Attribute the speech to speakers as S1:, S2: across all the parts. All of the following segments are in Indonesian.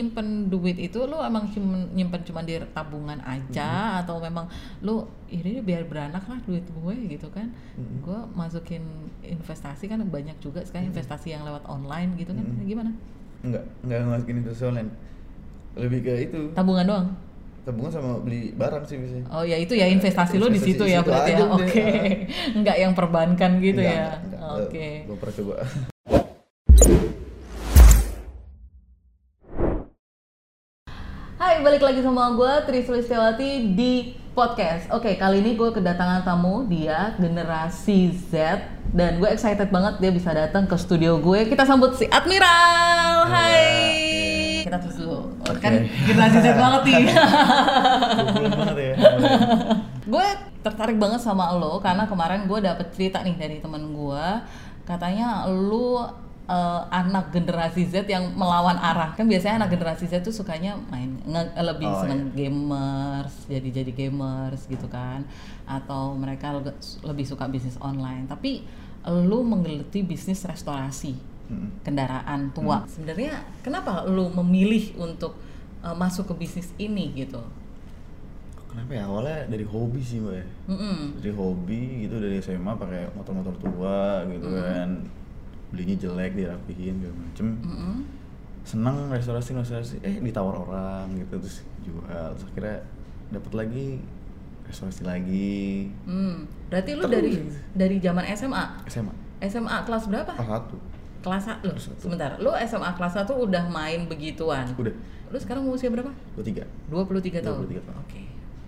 S1: Nyimpen duit itu lu emang cuman nyimpen cuman di tabungan
S2: Mm-hmm.
S1: aja atau memang lu, "Ih, ini biar beranak lah duit gue," gitu kan.
S2: Mhm.
S1: Gue masukin investasi kan banyak juga sekarang
S2: Mm-hmm.
S1: investasi yang lewat online gitu kan.
S2: Mhm.
S1: Gimana?
S2: Enggak, enggak masukin investasi online. Lebih ke itu.
S1: Tabungan doang.
S2: Tabungan sama beli barang sih biasanya.
S1: Oh ya itu ya investasi lu di
S2: Investasi
S1: situ
S2: di
S1: ya
S2: situ
S1: berarti
S2: aja
S1: ya.
S2: udah,
S1: Oke. Enggak yang perbankan gitu
S2: Enggak,
S1: ya.
S2: enggak, enggak.
S1: Oke.
S2: Belum pernah coba.
S1: Hai, balik lagi sama gue Tri Sulistiawati di podcast. Oke, kali ini gue kedatangan tamu dia generasi Z dan gue excited banget dia bisa datang ke studio gue. Kita sambut si Admiral. Hai. Kita terus dulu. Kan
S2: Oke.
S1: generasi Z banget nih.
S2: Belum banget ya.
S1: gue tertarik banget sama lo karena kemarin gue dapet cerita nih dari temen gue katanya lo eh, anak generasi Z yang melawan arah kan biasanya anak generasi Z tuh sukanya main nge- lebih
S2: Oh,
S1: seneng gamers jadi jadi gamers gitu kan atau mereka leg- lebih suka bisnis online tapi lo menggeluti bisnis restorasi
S2: Mm-mm.
S1: kendaraan tua sebenarnya kenapa lo memilih untuk eh, masuk ke bisnis ini gitu
S2: Kenapa ya awalnya dari hobi sih mbak ya.
S1: Mm-mm.
S2: Dari hobi gitu dari SMA pakai motor-motor tua gitu
S1: Hmm.
S2: kan. Belinya jelek dirapihin segala macem.
S1: Mm-mm.
S2: Seneng restorasi restorasi eh ditawar orang gitu terus jual terus akhirnya dapat lagi restorasi lagi
S1: Hmm, berarti lu
S2: Terus.
S1: dari dari zaman SMA.
S2: SMA
S1: SMA kelas berapa?
S2: kelas satu
S1: Kelas 1. Loh,
S2: Kelas satu.
S1: sebentar. Lu SMA kelas 1 udah main begituan.
S2: udah
S1: Lu sekarang usia berapa?
S2: gue tiga
S1: 23 tahun.
S2: 23 tahun.
S1: Oke.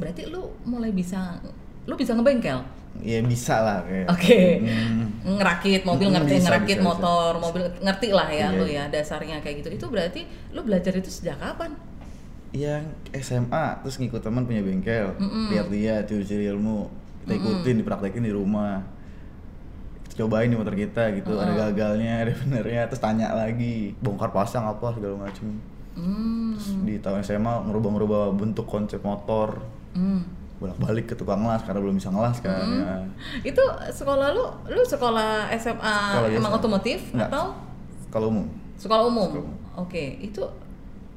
S1: Berarti lu mulai bisa lu bisa ngebengkel.
S2: ya bisa lah kayak
S1: Oke.
S2: Hmm.
S1: Ngerakit mobil,
S2: Hmm,
S1: ngerti
S2: bisa,
S1: ngerakit
S2: bisa,
S1: motor,
S2: bisa.
S1: mobil ngerti lah ya
S2: Iya,
S1: lu
S2: iya.
S1: ya dasarnya kayak gitu. Itu berarti lu belajar itu sejak kapan?
S2: yang SMA terus ngikut teman punya bengkel
S1: Mm-mm.
S2: lihat dia curi-curi ilmu kita ikutin dipraktekin di rumah Kita cobain di motor kita gitu ada gagalnya ada benernya terus tanya lagi bongkar pasang apa segala macem
S1: Hmm.
S2: terus di tahun SMA ngerubah-ngerubah bentuk konsep motor
S1: hmm.
S2: bolak-balik ke tukang las karena belum bisa ngelas kan ya.
S1: Itu sekolah lu, lu sekolah SMA
S2: Sekolah biasa.
S1: emang otomotif
S2: Enggak.
S1: atau
S2: kalau umum
S1: Sekolah umum.
S2: Sekolah umum.
S1: Oke, itu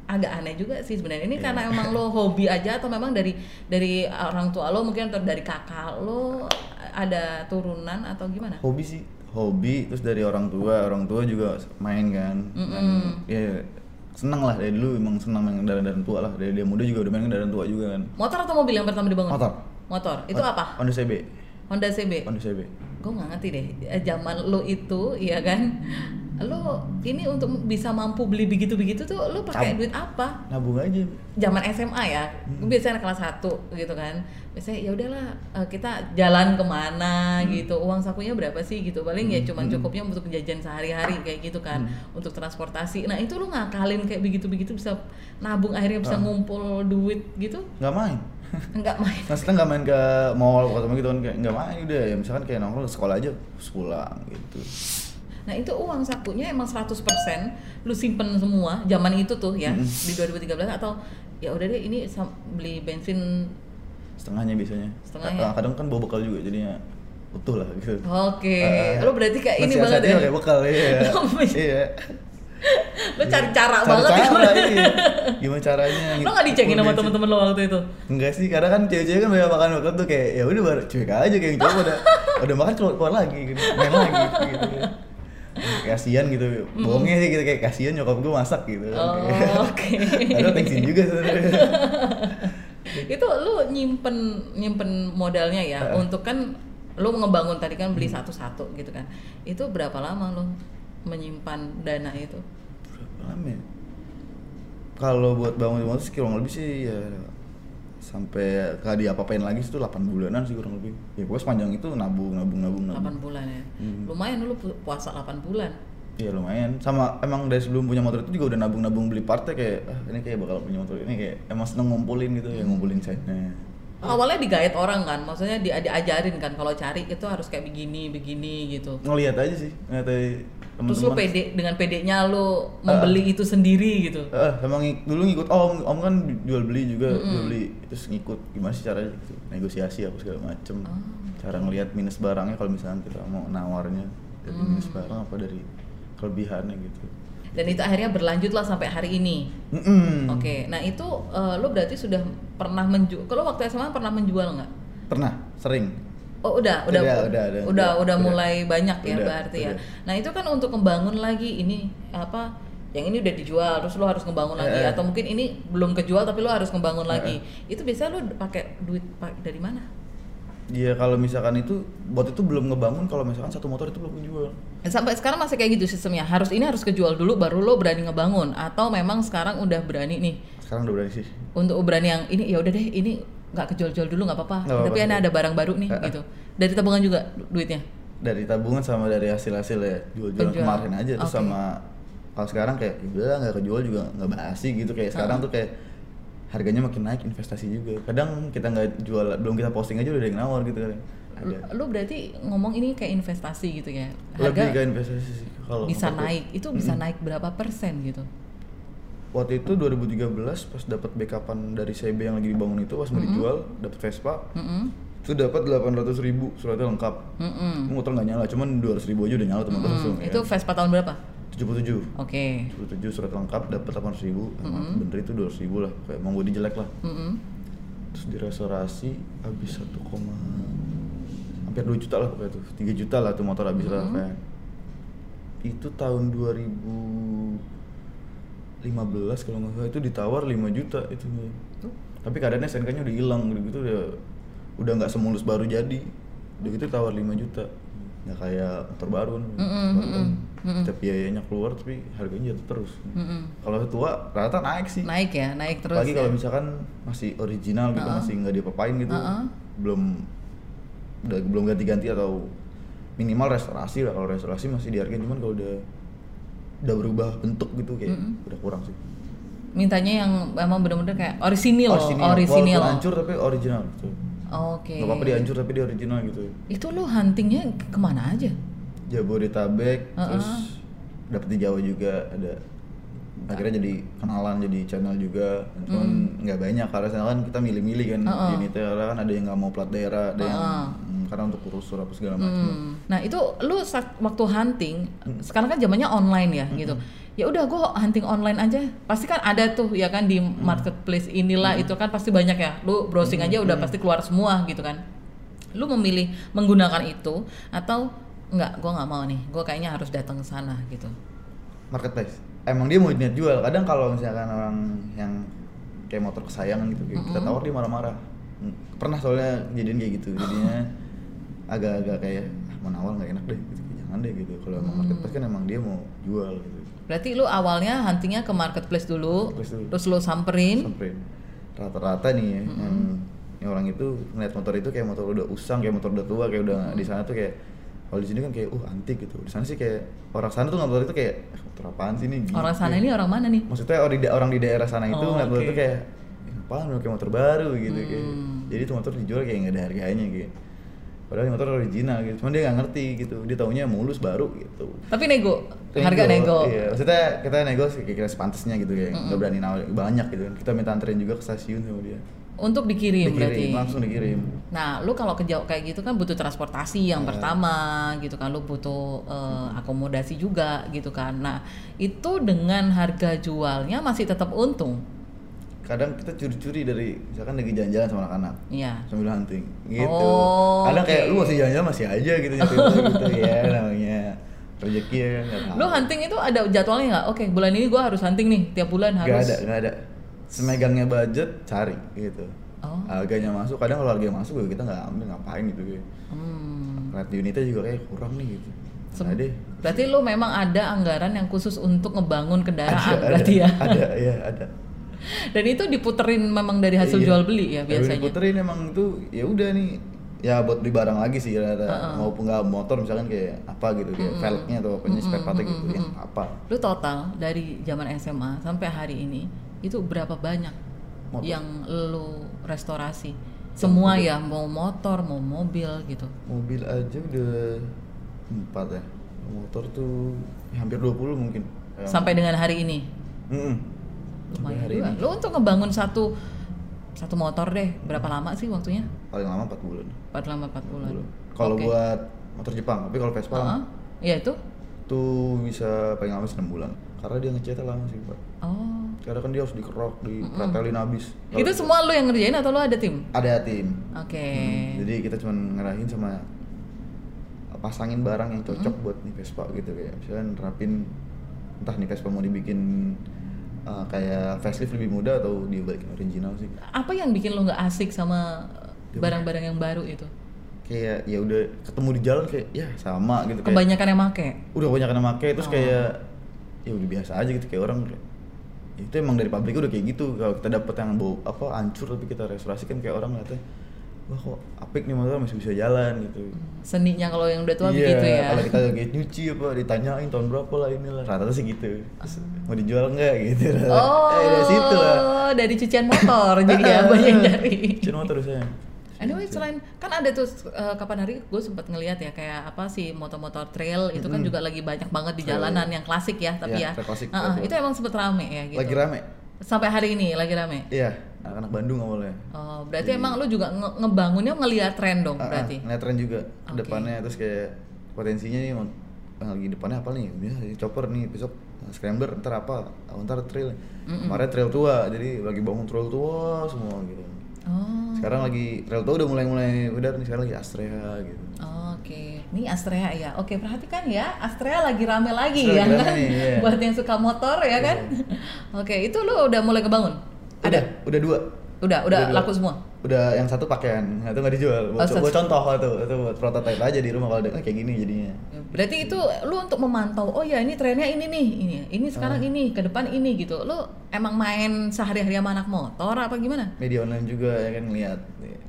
S1: agak aneh juga sih sebenarnya.
S2: Iya.
S1: Ini karena emang lo hobi aja atau memang dari dari orang tua lo mungkin atau dari kakak lo ada turunan atau gimana?
S2: hobi sih hobi terus dari orang tua orang tua juga main kan Dan, ya seneng lah dari dulu emang seneng main kendaraan tua lah dari dia muda juga udah main kendaraan tua juga kan
S1: Motor atau mobil yang pertama dibangun?
S2: Motor.
S1: Motor. Itu apa?
S2: Honda CB
S1: Honda CB.
S2: Honda CB
S1: Gue nggak ngerti deh. Eh, Zaman lo itu, iya kan? Lo ini untuk bisa mampu beli begitu-begitu tuh lo pakai
S2: Tabung.
S1: duit apa?
S2: nabung Nah, aja
S1: zaman SMA ya,
S2: Hmm.
S1: gue biasanya anak kelas 1 gitu kan. Biasanya ya udahlah eh, kita jalan
S2: Hmm.
S1: kemana gitu, uang sakunya berapa sih gitu. Paling ya cuman cukupnya untuk jajan sehari-hari kayak gitu kan,
S2: Hmm.
S1: untuk transportasi. Nah itu lu ngakalin kayak begitu-begitu bisa nabung akhirnya bisa
S2: Ah.
S1: ngumpul duit gitu,
S2: nggak main
S1: enggak main.
S2: maksudnya nggak main ke mall atau gitu kan kayak nggak main udah ya misalkan kayak nongkrong ke sekolah aja terus pulang gitu
S1: Nah itu uang sakunya emang 100% lu simpen semua zaman itu tuh ya
S2: Hmm.
S1: di 2013 atau ya udah deh ini sam- beli bensin
S2: setengahnya biasanya
S1: Setengahnya.
S2: Kadang- kadang kan bawa bekal juga jadinya utuh lah gitu
S1: Oke,
S2: Eh,
S1: lu berarti kayak ini banget
S2: mensiasatinya
S1: ya.
S2: kayak bekal iya
S1: Lu men-
S2: iya
S1: lo cari cara
S2: Cara-
S1: banget ya
S2: cara, iya. gimana caranya gitu.
S1: lo nggak dicengin sama
S2: Bensin.
S1: temen-temen lo waktu itu
S2: Enggak sih, karena kan cewek-cewek kan banyak makan waktu tuh kayak ya udah baru cuek aja kayak yang cowok udah udah makan keluar, keluar lagi gitu, main lagi gitu. Kasihan gitu, bohongnya sih gitu kayak kasihan nyokap gue masak gitu.
S1: Oh, oke.
S2: Ada tensin juga sebenarnya.
S1: itu lo nyimpen nyimpen modalnya ya untuk kan lo ngebangun tadi kan beli satu-satu gitu kan itu berapa lama lo menyimpan dana itu
S2: Berapa lama ya? Kalau buat bangun rumah tuh sih kurang lebih sih ya sampai kalau dia apa-apain lagi itu 8 bulanan sih kurang lebih. Ya pokoknya sepanjang itu nabung, nabung, nabung, nabung.
S1: 8 bulan ya lumayan lo pu- puasa 8 bulan
S2: Iya lumayan. Sama emang dari sebelum punya motor itu juga udah nabung-nabung beli partnya kayak ah, ini kayak bakal punya motor ini kayak emang seneng ngumpulin gitu ya ngumpulin setnya.
S1: awalnya digait orang kan maksudnya dia diajarin kan kalau cari itu harus kayak begini begini gitu
S2: Ngelihat aja sih, ngeliat aja teman-teman.
S1: terus lo pede dengan pedenya lo membeli itu sendiri gitu
S2: Eh, emang ngik- dulu ngikut om, om kan jual beli juga, jual beli terus ngikut gimana sih caranya gitu, negosiasi apa segala macem.
S1: Oh.
S2: Cara ngelihat minus
S1: Mm.
S2: barangnya kalau misalnya kita mau nawarnya dari minus barang apa dari kelebihannya gitu.
S1: dan itu akhirnya berlanjutlah sampai hari ini
S2: Mm-mm.
S1: oke nah itu eh, lo berarti sudah pernah menjual kalau waktu SMA pernah menjual nggak
S2: Pernah, sering.
S1: Oh udah udah
S2: Udah,
S1: udah
S2: udah, udah.
S1: udah,
S2: Udah.
S1: mulai banyak ya
S2: Udah,
S1: berarti ya.
S2: udah.
S1: Nah itu kan untuk membangun lagi ini apa yang ini udah dijual terus lo harus ngebangun lagi
S2: Eh, eh.
S1: atau mungkin ini belum kejual tapi lo harus ngebangun
S2: Eh,
S1: lagi. Itu biasanya lo pakai duit pa- dari mana?
S2: Iya kalau misalkan itu bot itu belum ngebangun kalau misalkan satu motor itu belum dijual.
S1: Sampai sekarang masih kayak gitu sistemnya. Harus ini harus kejual dulu baru lo berani ngebangun atau memang sekarang udah berani nih
S2: Sekarang udah berani sih.
S1: untuk berani yang ini ya udah deh ini nggak kejual-jual dulu nggak apa-apa.
S2: Nggak
S1: Tapi
S2: apa-apa.
S1: ini ada barang baru nih
S2: Eh, eh.
S1: gitu. Dari tabungan juga du- duitnya.
S2: Dari tabungan sama dari hasil-hasil ya jual-jualan
S1: Penjualan.
S2: kemarin aja terus
S1: Oke.
S2: sama kalau sekarang kayak ya udah nggak kejual juga nggak basi gitu kayak sekarang tuh kayak harganya makin naik investasi juga. Kadang kita nggak jual belum kita posting aja udah ada yang nawar gitu kan. Ada.
S1: Lo berarti ngomong ini kayak investasi gitu ya.
S2: Lebih ke Hmm. investasi sih kalau
S1: bisa
S2: menurut aku.
S1: naik itu bisa naik berapa persen gitu
S2: Waktu itu 2013 pas dapat backupan dari CB yang lagi dibangun itu pas mau
S1: Mm-hmm.
S2: dijual dapat Vespa
S1: Mm-mm.
S2: itu dapat 800.000 ribu suratnya lengkap.
S1: Mm-mm.
S2: Ini motor nggak nyala, cuman 200 ribu aja udah nyala teman
S1: Mm-mm.
S2: langsung
S1: Mm-hmm. itu Vespa tahun berapa
S2: ya. 77
S1: oke
S2: 77 surat lengkap dapat 800 ribu sama
S1: Mm-hmm.
S2: bener itu 200 ribu lah kayak mau gue dijelek lah
S1: Mm-mm.
S2: terus direstorasi habis 1, hampir 2 juta lah pokoknya tuh 3 juta lah tuh motor habis
S1: Mm-hmm.
S2: lah kayak itu tahun 2015 kalau nggak salah itu ditawar 5 juta itu
S1: Oh.
S2: tapi keadaannya SNK nya udah hilang udah gitu udah udah nggak semulus baru jadi udah gitu tawar 5 juta nggak kayak motor baru kan
S1: Mm-mm,
S2: Baru kan,
S1: mm-mm, mm-mm.
S2: setiap biayanya keluar tapi harganya jatuh terus
S1: Mm-mm.
S2: kalau tua rata naik sih
S1: naik ya naik terus
S2: lagi
S1: ya.
S2: kalau misalkan masih original gitu
S1: Uh-uh.
S2: masih nggak diapain gitu
S1: Uh-uh.
S2: belum udah belum ganti-ganti atau minimal restorasi lah kalau restorasi masih dihargain cuman kalau udah udah berubah bentuk gitu kayak udah kurang sih
S1: mintanya yang emang bener-bener kayak orisinil
S2: Orisinil.
S1: orisinil
S2: ya? Walaupun hancur tapi original gitu
S1: Iya, oke
S2: nggak apa-apa dihancur tapi dia original gitu
S1: itu lo huntingnya ke- kemana aja
S2: Jabodetabek
S1: Uh-uh.
S2: terus dapet di Jawa juga ada akhirnya jadi kenalan jadi channel juga cuman nggak banyak karena sekarang kan kita milih-milih kan
S1: Uh-uh.
S2: unitnya karena kan ada yang nggak mau plat daerah ada yang
S1: Uh-uh.
S2: mm, karena untuk urus surat apa segala macam
S1: Hmm. Nah itu lu sak- waktu hunting,
S2: Hmm.
S1: sekarang kan zamannya online ya gitu. Ya udah gue hunting online aja. Pasti kan ada tuh ya kan di
S2: Hmm.
S1: marketplace inilah itu kan pasti banyak ya. Lu browsing aja udah
S2: Hmm.
S1: pasti keluar semua gitu kan. Lu memilih menggunakan itu atau enggak gue nggak mau nih. Gue kayaknya harus datang ke sana gitu.
S2: marketplace emang dia mau niat jual kadang kalau misalkan orang yang kayak motor kesayangan gitu kayak kita tawar dia marah-marah Mm, pernah soalnya jadian kayak gitu jadinya agak-agak kayak ah, mau nawar nggak enak deh gitu. jangan deh gitu kalau emang marketplace kan emang dia mau jual gitu
S1: Berarti lu awalnya huntingnya ke marketplace dulu,
S2: Marketplace dulu.
S1: terus lu samperin.
S2: samperin rata-rata nih ya, yang yang orang itu ngeliat motor itu kayak motor udah usang kayak motor udah tua kayak udah di sana tuh kayak kalau di sini kan kayak uh antik gitu di sana sih kayak orang sana tuh ngeliat motor itu kayak "Eh, motor apaan sih ini gitu.
S1: Orang sana ini orang mana nih?
S2: maksudnya orang di, orang di daerah sana itu
S1: Oh,
S2: ngeliat motor
S1: oke.
S2: itu kayak "Eh, apaan lu kayak motor baru gitu kayak
S1: Hmm.
S2: jadi tuh motor dijual kayak nggak ada harganya gitu padahal ini motor original gitu cuman dia nggak ngerti gitu dia taunya mulus baru gitu
S1: Tapi nego, harga nego.
S2: Iya, maksudnya kita nego sih kira-kira sepantasnya gitu ya. Enggak berani nawar banyak gitu kan. Kita minta anterin juga ke stasiun sama dia.
S1: Untuk dikirim, Iya, berarti.
S2: langsung dikirim.
S1: Nah, lu kalau ke Jawa kayak gitu kan butuh transportasi
S2: Iya.
S1: yang pertama gitu kan, lu butuh eh, akomodasi juga gitu kan. Nah, itu dengan harga jualnya masih tetap untung.
S2: Kadang kita curi-curi dari misalkan lagi jalan-jalan sama anak-anak
S1: Iya.
S2: sambil hunting gitu.
S1: Oh,
S2: Kadang kayak
S1: oke.
S2: lu masih jalan-jalan masih aja gitu nyetir gitu ya namanya rezeki ya kan. nggak tahu.
S1: Lu hunting itu ada jadwalnya nggak? Oke, bulan ini gua harus hunting nih, tiap bulan
S2: Gak
S1: harus.
S2: ada, gak ada. Semegangnya budget cari gitu.
S1: Oh.
S2: Harganya masuk, kadang kalau harganya masuk ya kita nggak ambil ngapain gitu ya.
S1: Hmm.
S2: Lihat di unitnya juga kayak kurang nih gitu.
S1: Sem-
S2: Nah deh,
S1: Berarti lu memang ada anggaran yang khusus untuk ngebangun kendaraan
S2: ada,
S1: berarti ya.
S2: ada ya ada
S1: Dan itu diputerin memang dari hasil
S2: Iya.
S1: jual beli ya
S2: Tapi
S1: biasanya.
S2: diputerin emang itu ya udah nih ya buat beli barang lagi sih rata mau nggak motor misalkan kayak apa gitu kayak velgnya atau apanya spare partnya gitu yang apa
S1: Lu total dari zaman SMA sampai hari ini itu berapa banyak
S2: Motor.
S1: yang lu restorasi? Semua ya, mau motor, mau mobil gitu.
S2: mobil aja udah empat ya motor tuh ya hampir 20 mungkin Ya.
S1: Sampai dengan hari ini.
S2: Mm-mm. Sampai
S1: Lumayan
S2: hari
S1: juga.
S2: ini
S1: Lu untuk ngebangun satu satu motor deh, berapa lama sih waktunya?
S2: paling lama 4 bulan
S1: Empat lama 4 bulan.
S2: kalau
S1: Oke.
S2: buat motor Jepang tapi kalau Vespa
S1: Heeh. Ya itu
S2: tuh bisa paling lama 6 bulan karena dia ngechatnya lama sih pak
S1: Oh.
S2: karena kan dia harus dikerok dipretelin habis
S1: Itu semua lu yang ngerjain atau lu ada tim?
S2: ada tim
S1: Oke.
S2: Hmm, jadi kita cuma ngerahin sama pasangin barang yang cocok
S1: Hmm.
S2: buat nih Vespa gitu kayak misalnya nerapin entah nih Vespa mau dibikin uh, kayak facelift lebih muda atau dia balikin original sih
S1: Apa yang bikin lu nggak asik sama barang-barang yang baru itu?
S2: kayak ya udah ketemu di jalan kayak ya sama gitu kayak
S1: Kebanyakan Oh. yang make.
S2: udah banyak yang make terus kayak ya udah biasa aja gitu kayak orang kayak, "Ya itu emang dari pabrik udah kayak gitu kalau kita dapet yang bau apa hancur tapi kita restorasi kan kayak orang ngeliatnya wah kok apik nih motor masih bisa jalan gitu
S1: Seninya kalau yang udah tua
S2: Iya,
S1: begitu ya.
S2: Kalau kita lagi nyuci apa ditanyain tahun berapa lah inilah. Rata-rata sih gitu. Terus, mau dijual enggak gitu.
S1: Oh,
S2: Eh, dari situ lah.
S1: dari cucian motor jadi ya banyak dari.
S2: Cuma terus saya.
S1: Anyway, selain kan ada tuh eh, kapan hari gue sempat ngeliat ya kayak apa sih motor-motor trail itu kan juga lagi banyak banget di jalanan yang klasik ya tapi
S2: Iya,
S1: ya
S2: trail klasik,
S1: Heeh,
S2: trail.
S1: itu emang sempet rame ya gitu
S2: Lagi rame.
S1: sampai hari ini lagi rame
S2: Iya, anak-anak Bandung awalnya.
S1: oh berarti emang lu juga nge- ngebangunnya ngeliat tren dong
S2: Ah, ah,
S1: berarti
S2: ngeliat tren juga
S1: Oke.
S2: depannya terus kayak potensinya nih mau- ah, lagi depannya apa nih? Biasa ini chopper nih besok ah, scrambler ntar apa? Ah, ntar trail. Kemarin trail tua, jadi lagi bangun trail tua semua gitu.
S1: oh
S2: Sekarang lagi trail tua udah mulai-mulai udah nih sekarang lagi Astrea gitu.
S1: Oke, ini Astrea ya. Oke, perhatikan ya, Astrea lagi rame lagi
S2: Astrea
S1: ya
S2: lagi
S1: kan.
S2: rame, iya.
S1: Buat yang suka motor ya kan. Oke, itu lu udah mulai kebangun?
S2: Ada, udah dua.
S1: Udah, udah,
S2: dua.
S1: laku semua.
S2: Udah yang satu pakaian, yang satu nggak dijual. Buat,
S1: Oh, satu.
S2: buat contoh itu, itu buat prototipe aja di rumah kalau ada kayak gini jadinya.
S1: Berarti itu lu untuk memantau, oh ya ini trennya ini nih, ini, ini sekarang
S2: Ah.
S1: ini, ke depan ini gitu. Lu emang main sehari-hari sama anak motor apa gimana?
S2: Media online juga ya kan ngeliat.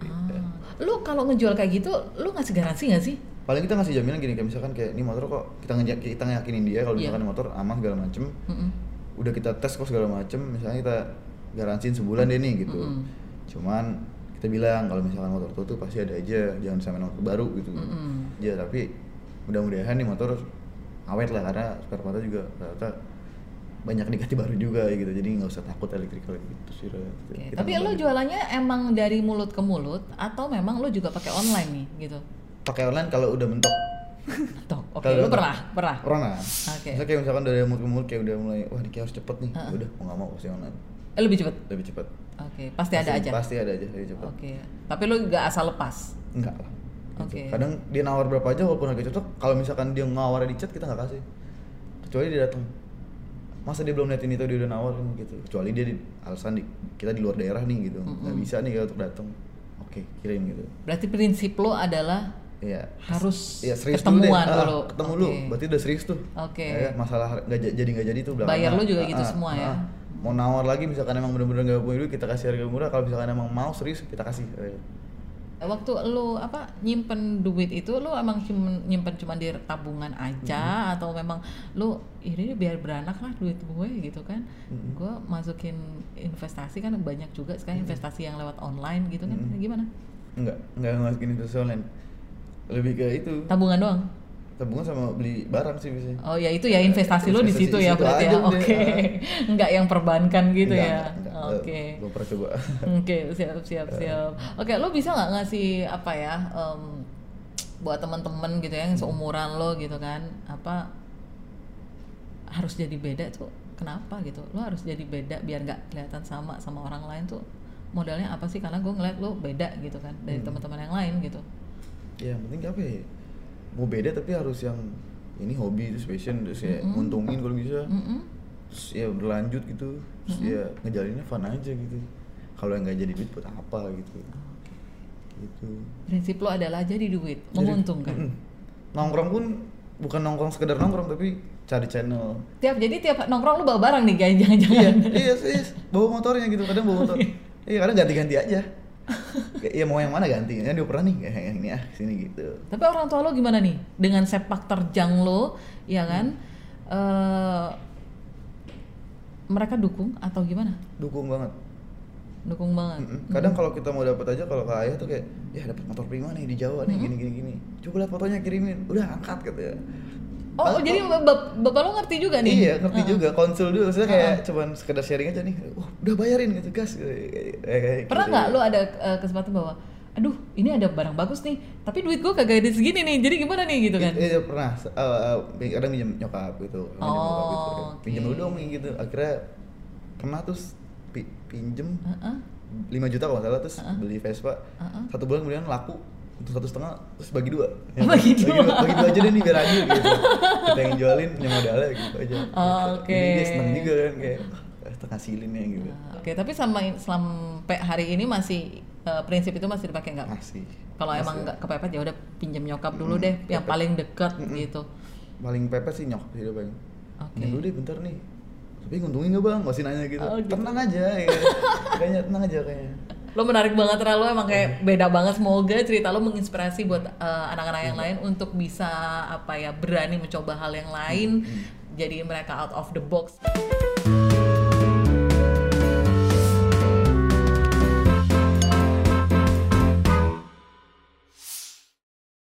S1: Ah, Lu kalau ngejual kayak gitu, lu ngasih garansi nggak sih?
S2: Paling kita ngasih jaminan gini kayak misalkan kayak ini motor kok kita ngejak kita ngeyakinin dia kalau
S1: Iya.
S2: misalkan motor aman segala macem.
S1: Mm-mm.
S2: Udah kita tes kok segala macem, misalnya kita garansiin sebulan deh nih gitu.
S1: Mm-mm.
S2: Cuman kita bilang kalau misalkan motor tua tuh pasti ada aja, jangan sampai motor baru gitu.
S1: Mm-mm.
S2: Ya tapi mudah-mudahan nih motor awet lah karena spare partnya juga ternyata banyak diganti baru juga gitu jadi nggak usah takut elektrikal gitu sih Ra.
S1: Oke,
S2: Kita
S1: Tapi
S2: nggak
S1: lu
S2: boleh.
S1: jualannya emang dari mulut ke mulut atau memang lu juga pakai online nih gitu?
S2: pakai online kalau udah mentok
S1: Tuh, oke, lu
S2: Kalau-
S1: pernah, pernah.
S2: corona
S1: Oke.
S2: Misalnya kayak misalkan dari mulut ke mulut kayak udah mulai wah ini kayak harus cepet nih
S1: Heeh.
S2: udah mau nggak mau pasti online
S1: Eh, lebih cepet.
S2: lebih cepet
S1: Oke, pasti ada aja.
S2: pasti ada aja lebih cepet
S1: Oke, tapi lu nggak asal lepas.
S2: enggak lah
S1: Oke.
S2: Gitu. kadang dia nawar berapa aja walaupun harga cocok kalau misalkan dia nawar di chat kita nggak kasih kecuali dia datang masa dia belum liatin itu dia udah nawar kan gitu kecuali dia di, alasan di, kita di luar daerah nih gitu nggak bisa nih kita untuk datang oke kirim gitu
S1: Berarti prinsip lu adalah
S2: Iya.
S1: harus
S2: Iya serius dulu deh.
S1: ketemuan
S2: Ah,
S1: dulu.
S2: ketemu
S1: Oke.
S2: dulu. Berarti udah serius tuh.
S1: Oke.
S2: Ya, masalah har- nggak ja- jadi nggak jadi tuh belakangan.
S1: Bayar lu juga
S2: Ah,
S1: gitu
S2: ah,
S1: semua ya?
S2: ah. Mau nawar lagi misalkan emang bener-bener nggak punya duit kita kasih harga murah. Kalau misalkan emang mau serius kita kasih. Eh,
S1: Waktu lu apa nyimpen duit itu lu emang cuman- nyimpen cuma di tabungan aja
S2: Mm-hmm.
S1: atau memang lu ini deh biar beranak lah duit gue gitu kan.
S2: Mm-hmm.
S1: Gue masukin investasi kan banyak juga sekarang investasi yang lewat online gitu kan.
S2: Mm-hmm.
S1: Gimana?
S2: Nggak nggak masukin investasi online. Lebih ke itu
S1: Tabungan doang.
S2: tabungan sama beli barang sih biasanya.
S1: Oh ya itu ya investasi lo di
S2: Investasi
S1: situ
S2: di
S1: ya
S2: situ
S1: berarti
S2: aja
S1: ya.
S2: udah.
S1: Oke. Enggak yang perbankan gitu
S2: Nggak,
S1: ya.
S2: nggak, nggak. Eh,
S1: Oke.
S2: Gua pernah coba.
S1: Oke, siap siap siap. Oke, lo bisa nggak ngasih apa ya em, buat teman-teman gitu ya yang seumuran lo gitu kan apa harus jadi beda tuh kenapa gitu lo harus jadi beda biar nggak kelihatan sama sama orang lain tuh modalnya apa sih karena gue ngeliat lo beda gitu kan dari
S2: Hmm.
S1: teman-teman yang lain gitu
S2: ya yang penting apa ya? Mau beda tapi harus yang ini hobi terus passion terus ya nguntungin kalau bisa.
S1: Mm-mm.
S2: terus ya berlanjut gitu terus ya ngejalaninnya fun aja gitu kalau yang nggak jadi duit buat apa gitu gitu
S1: prinsip lo adalah jadi duit menguntungkan
S2: Mm. nongkrong pun bukan nongkrong sekedar nongkrong tapi cari channel
S1: Tiap jadi tiap nongkrong lu bawa barang nih guys, jangan-jangan.
S2: iya sih bawa motornya gitu kadang bawa motor iya kadang ganti-ganti aja Kayak, ya mau yang mana ganti ya dia pernah nih kayak yang ini ah sini gitu
S1: Tapi orang tua lu gimana nih dengan sepak terjang lo, ya
S2: Hmm.
S1: kan? Eh, mereka dukung atau gimana?
S2: dukung banget
S1: Dukung banget.
S2: Mm-mm. kadang kalau kita mau dapat aja kalau ke ayah tuh kayak ya dapat motor prima nih di Jawa
S1: Mm-hmm.
S2: nih gini gini gini coba lihat fotonya kirimin udah angkat gitu ya
S1: Oh, oh, jadi bap- bapak lo ngerti juga nih?
S2: Iya, ngerti juga. Konsul dulu, maksudnya kayak cuman sekedar sharing aja nih. Wah, udah bayarin gitu, gas. Kayak- kayak- kayak
S1: Pernah
S2: gitu.
S1: nggak lu ada eh, kesempatan bahwa aduh ini ada barang bagus nih tapi duit gua kagak ada segini nih jadi gimana nih gitu kan
S2: Eh, eh, pernah se- eh, eh, kadang minjem nyokap gitu minjem
S1: Oh,
S2: nyokap gitu.
S1: oke.
S2: pinjem dulu dong nih, gitu akhirnya pernah terus pi- pinjem
S1: Heeh.
S2: 5 juta kalau nggak salah terus beli Vespa
S1: Heeh.
S2: satu bulan kemudian laku untuk satu setengah terus bagi dua
S1: Oh, Bagi dua.
S2: bagi dua aja deh nih biar adil gitu kita yang jualin punya modalnya gitu aja
S1: Oh,
S2: Jadi
S1: oke.
S2: dia seneng juga kan kayak "Ah, kita ngasilin ya gitu
S1: Ah, Oke, tapi sama sampai hari ini masih eh, prinsip itu masih dipakai nggak?
S2: masih
S1: Kalau emang nggak kepepet ya udah pinjam nyokap dulu deh, yang paling dekat gitu.
S2: paling pepet sih nyok sih dia paling
S1: Oke.
S2: "Pinjam dulu deh bentar nih tapi nguntungin nggak bang masih nanya gitu
S1: Oh, gitu.
S2: tenang aja ya. kayaknya tenang aja kayaknya
S1: Lo menarik banget Ra, lo emang kayak beda banget. Semoga cerita lo menginspirasi buat eh, anak-anak yang lain untuk bisa apa ya berani mencoba hal yang lain. Jadi mereka out of the box.